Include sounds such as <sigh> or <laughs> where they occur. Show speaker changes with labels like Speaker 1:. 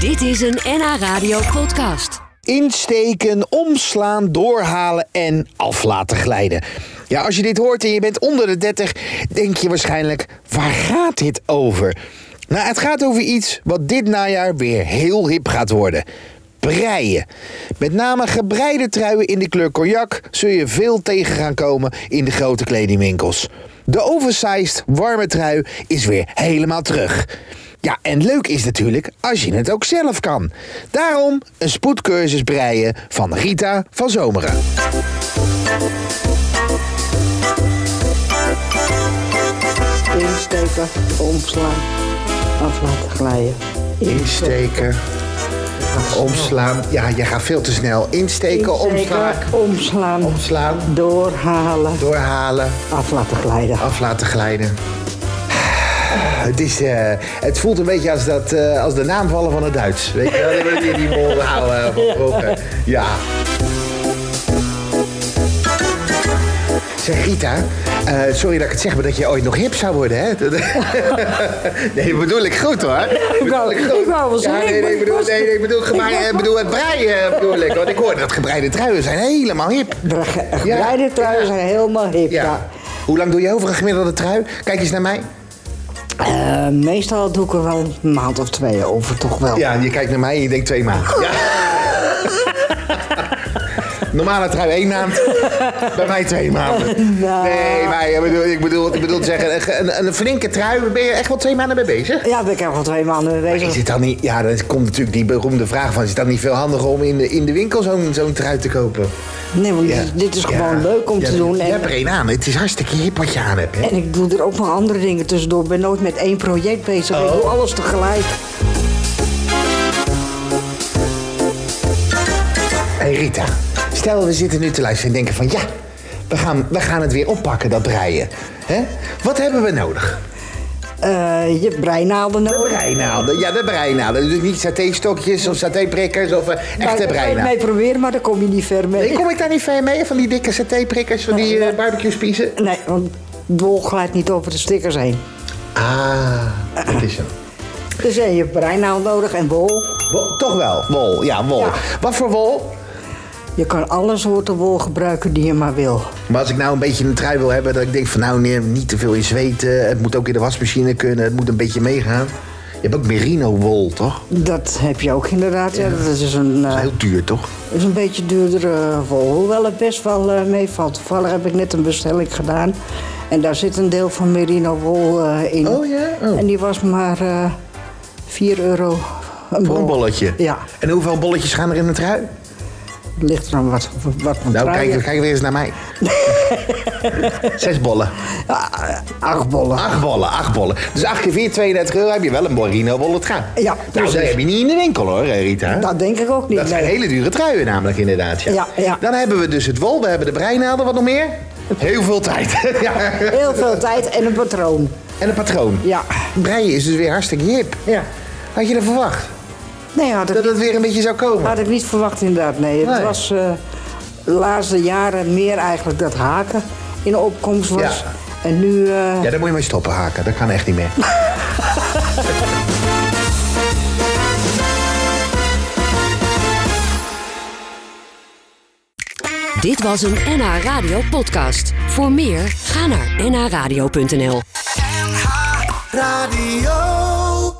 Speaker 1: Dit is een NH Radio podcast.
Speaker 2: Insteken, omslaan, doorhalen en af laten glijden. Ja, als je dit hoort en je bent onder de 30, denk je waarschijnlijk: waar gaat dit over? Nou, het gaat over iets wat dit najaar weer heel hip gaat worden. Breien. Met name gebreide truien in de kleur cognac zul je veel tegen gaan komen in de grote kledingwinkels. De oversized warme trui is weer helemaal terug. Ja, en leuk is natuurlijk als je het ook zelf kan. Daarom een spoedcursus breien van Rita van Zomeren.
Speaker 3: Insteken, omslaan, af laten glijden.
Speaker 2: Insteken, omslaan. Ja, je gaat veel te snel. Insteken, omslaan,
Speaker 3: Insteken, omslaan,
Speaker 2: omslaan,
Speaker 3: doorhalen,
Speaker 2: doorhalen,
Speaker 3: af laten glijden.
Speaker 2: af laten glijden. <sighs> Het, is, eh, het voelt een beetje als, dat, eh, als de naamvallen van het Duits. Weet je wel, die hebben die mol eh, halen van vroeger. Ja. Zeg Rita, eh, sorry dat ik het zeg, maar dat je ooit nog hip zou worden, hè? <laughs> Dat- nee, bedoel ik goed hoor. Bedoel
Speaker 3: wou- ik wou wel zeggen,
Speaker 2: Ja, nee,
Speaker 3: ik
Speaker 2: nee,
Speaker 3: ben-
Speaker 2: bedoel, nee, nee, bedoel, gebaar-
Speaker 3: Ik wou-
Speaker 2: eh, bedoel het breien eh, bedoel ik. Want ik hoorde dat gebreide truien zijn helemaal hip.
Speaker 3: Ge- Gebreide truien zijn helemaal hip, ja.
Speaker 2: Ja. Hoe lang doe je over een gemiddelde trui? Kijk eens naar mij.
Speaker 3: Eh, meestal doe ik er wel een maand of twee over, toch wel.
Speaker 2: Ja, je kijkt naar mij en je denkt twee maanden.
Speaker 3: Oh. <laughs>
Speaker 2: Ja. Normale trui één maand, bij mij twee maanden.
Speaker 3: Nou.
Speaker 2: Nee, maar ik bedoel, ik bedoel, ik bedoel te zeggen, een, een flinke trui, ben je echt wel twee maanden mee bezig?
Speaker 3: Ja, ben ik er al twee maanden mee
Speaker 2: Is
Speaker 3: bezig.
Speaker 2: het dan niet, ja, dan komt natuurlijk die beroemde vraag van, is het dan niet veel handiger om in de, in de winkel zo'n zo'n trui te kopen?
Speaker 3: Nee, want
Speaker 2: Ja.
Speaker 3: dit- dit is
Speaker 2: Ja.
Speaker 3: gewoon leuk om
Speaker 2: Ja,
Speaker 3: te doen.
Speaker 2: Je
Speaker 3: En,
Speaker 2: hebt er één aan, het is hartstikke hip wat je aan hebt. Hè?
Speaker 3: en ik doe er ook nog andere dingen tussendoor. Ik ben nooit met één project bezig.
Speaker 2: Oh.
Speaker 3: Ik doe alles tegelijk.
Speaker 2: Hey Rita, stel we zitten nu te luisteren en denken van, ja, we gaan, we gaan het weer oppakken, dat breien. Hè? Wat hebben we nodig?
Speaker 3: Eh, je hebt breinaalden nodig.
Speaker 2: Breinaalden, ja, de breinaalden. Dus niet satéstokjes of satéprikkers of eh, echte
Speaker 3: Daar kan je het
Speaker 2: breinaalden.
Speaker 3: mee proberen, maar daar kom je niet ver mee.
Speaker 2: Nee, kom ik daar niet ver mee, van die dikke satéprikkers, van die eh, barbecue-spiezen?
Speaker 3: Nee, want wol glijdt niet over de stickers heen.
Speaker 2: Ah, dat is hem.
Speaker 3: Dus eh, je hebt breinaal nodig en wol.
Speaker 2: Wol- toch wel, wol, ja, wol.
Speaker 3: Ja.
Speaker 2: Wat voor wol?
Speaker 3: Je kan alle soorten wol gebruiken die je maar wil.
Speaker 2: Maar als ik nou een beetje een trui wil hebben, dat ik denk van nou, nee, niet te veel in zweten. Het moet ook in de wasmachine kunnen, het moet een beetje meegaan. Je hebt ook merino-wol, toch?
Speaker 3: Dat heb je ook inderdaad. Ja. Dat is dus een, eh,
Speaker 2: Dat is heel duur, toch?
Speaker 3: is een beetje duurdere wol. Hoewel het best wel eh, meevalt. Toevallig heb ik net een bestelling gedaan. En daar zit een deel van merino wol eh, in.
Speaker 2: Oh ja? Oh.
Speaker 3: En die was maar eh 4 euro. Een
Speaker 2: Voor een
Speaker 3: bol.
Speaker 2: bolletje.
Speaker 3: Oh. Ja,
Speaker 2: En hoeveel bolletjes gaan er in een trui?
Speaker 3: ligt er aan wat, wat voor
Speaker 2: Nou,
Speaker 3: trui je-
Speaker 2: kijk, kijk weer eens naar
Speaker 3: <laughs>
Speaker 2: mij. Zes bollen.
Speaker 3: Ah, acht bollen.
Speaker 2: Acht bollen, acht bollen. Dus acht keer 4, 32 euro heb je wel een Borino bollet gaan.
Speaker 3: Ja,
Speaker 2: Nou,
Speaker 3: precies.
Speaker 2: dat heb je niet in de winkel hoor, eh, Rita.
Speaker 3: Dat denk ik ook niet.
Speaker 2: Dat zijn
Speaker 3: nee.
Speaker 2: hele dure truien namelijk inderdaad. Ja.
Speaker 3: Ja, ja.
Speaker 2: Dan hebben we dus het wol, we hebben de breinaalden, wat nog meer? Heel veel tijd. <laughs> ja.
Speaker 3: Heel veel tijd en een patroon.
Speaker 2: En een patroon.
Speaker 3: Ja.
Speaker 2: Breien is dus weer hartstikke hip.
Speaker 3: Ja.
Speaker 2: Had je dat verwacht?
Speaker 3: Nee, had
Speaker 2: Dat
Speaker 3: ik,
Speaker 2: het weer een beetje zou komen?
Speaker 3: had ik niet verwacht inderdaad. Nee, het
Speaker 2: Nee.
Speaker 3: was eh, de laatste jaren meer eigenlijk dat haken in opkomst was.
Speaker 2: Ja.
Speaker 3: En nu... eh,
Speaker 2: Ja, daar moet je mee stoppen haken. Dat kan echt niet meer.
Speaker 1: Dit was een NH Radio podcast. Voor meer, ga naar nhradio.nl.
Speaker 4: NH Radio.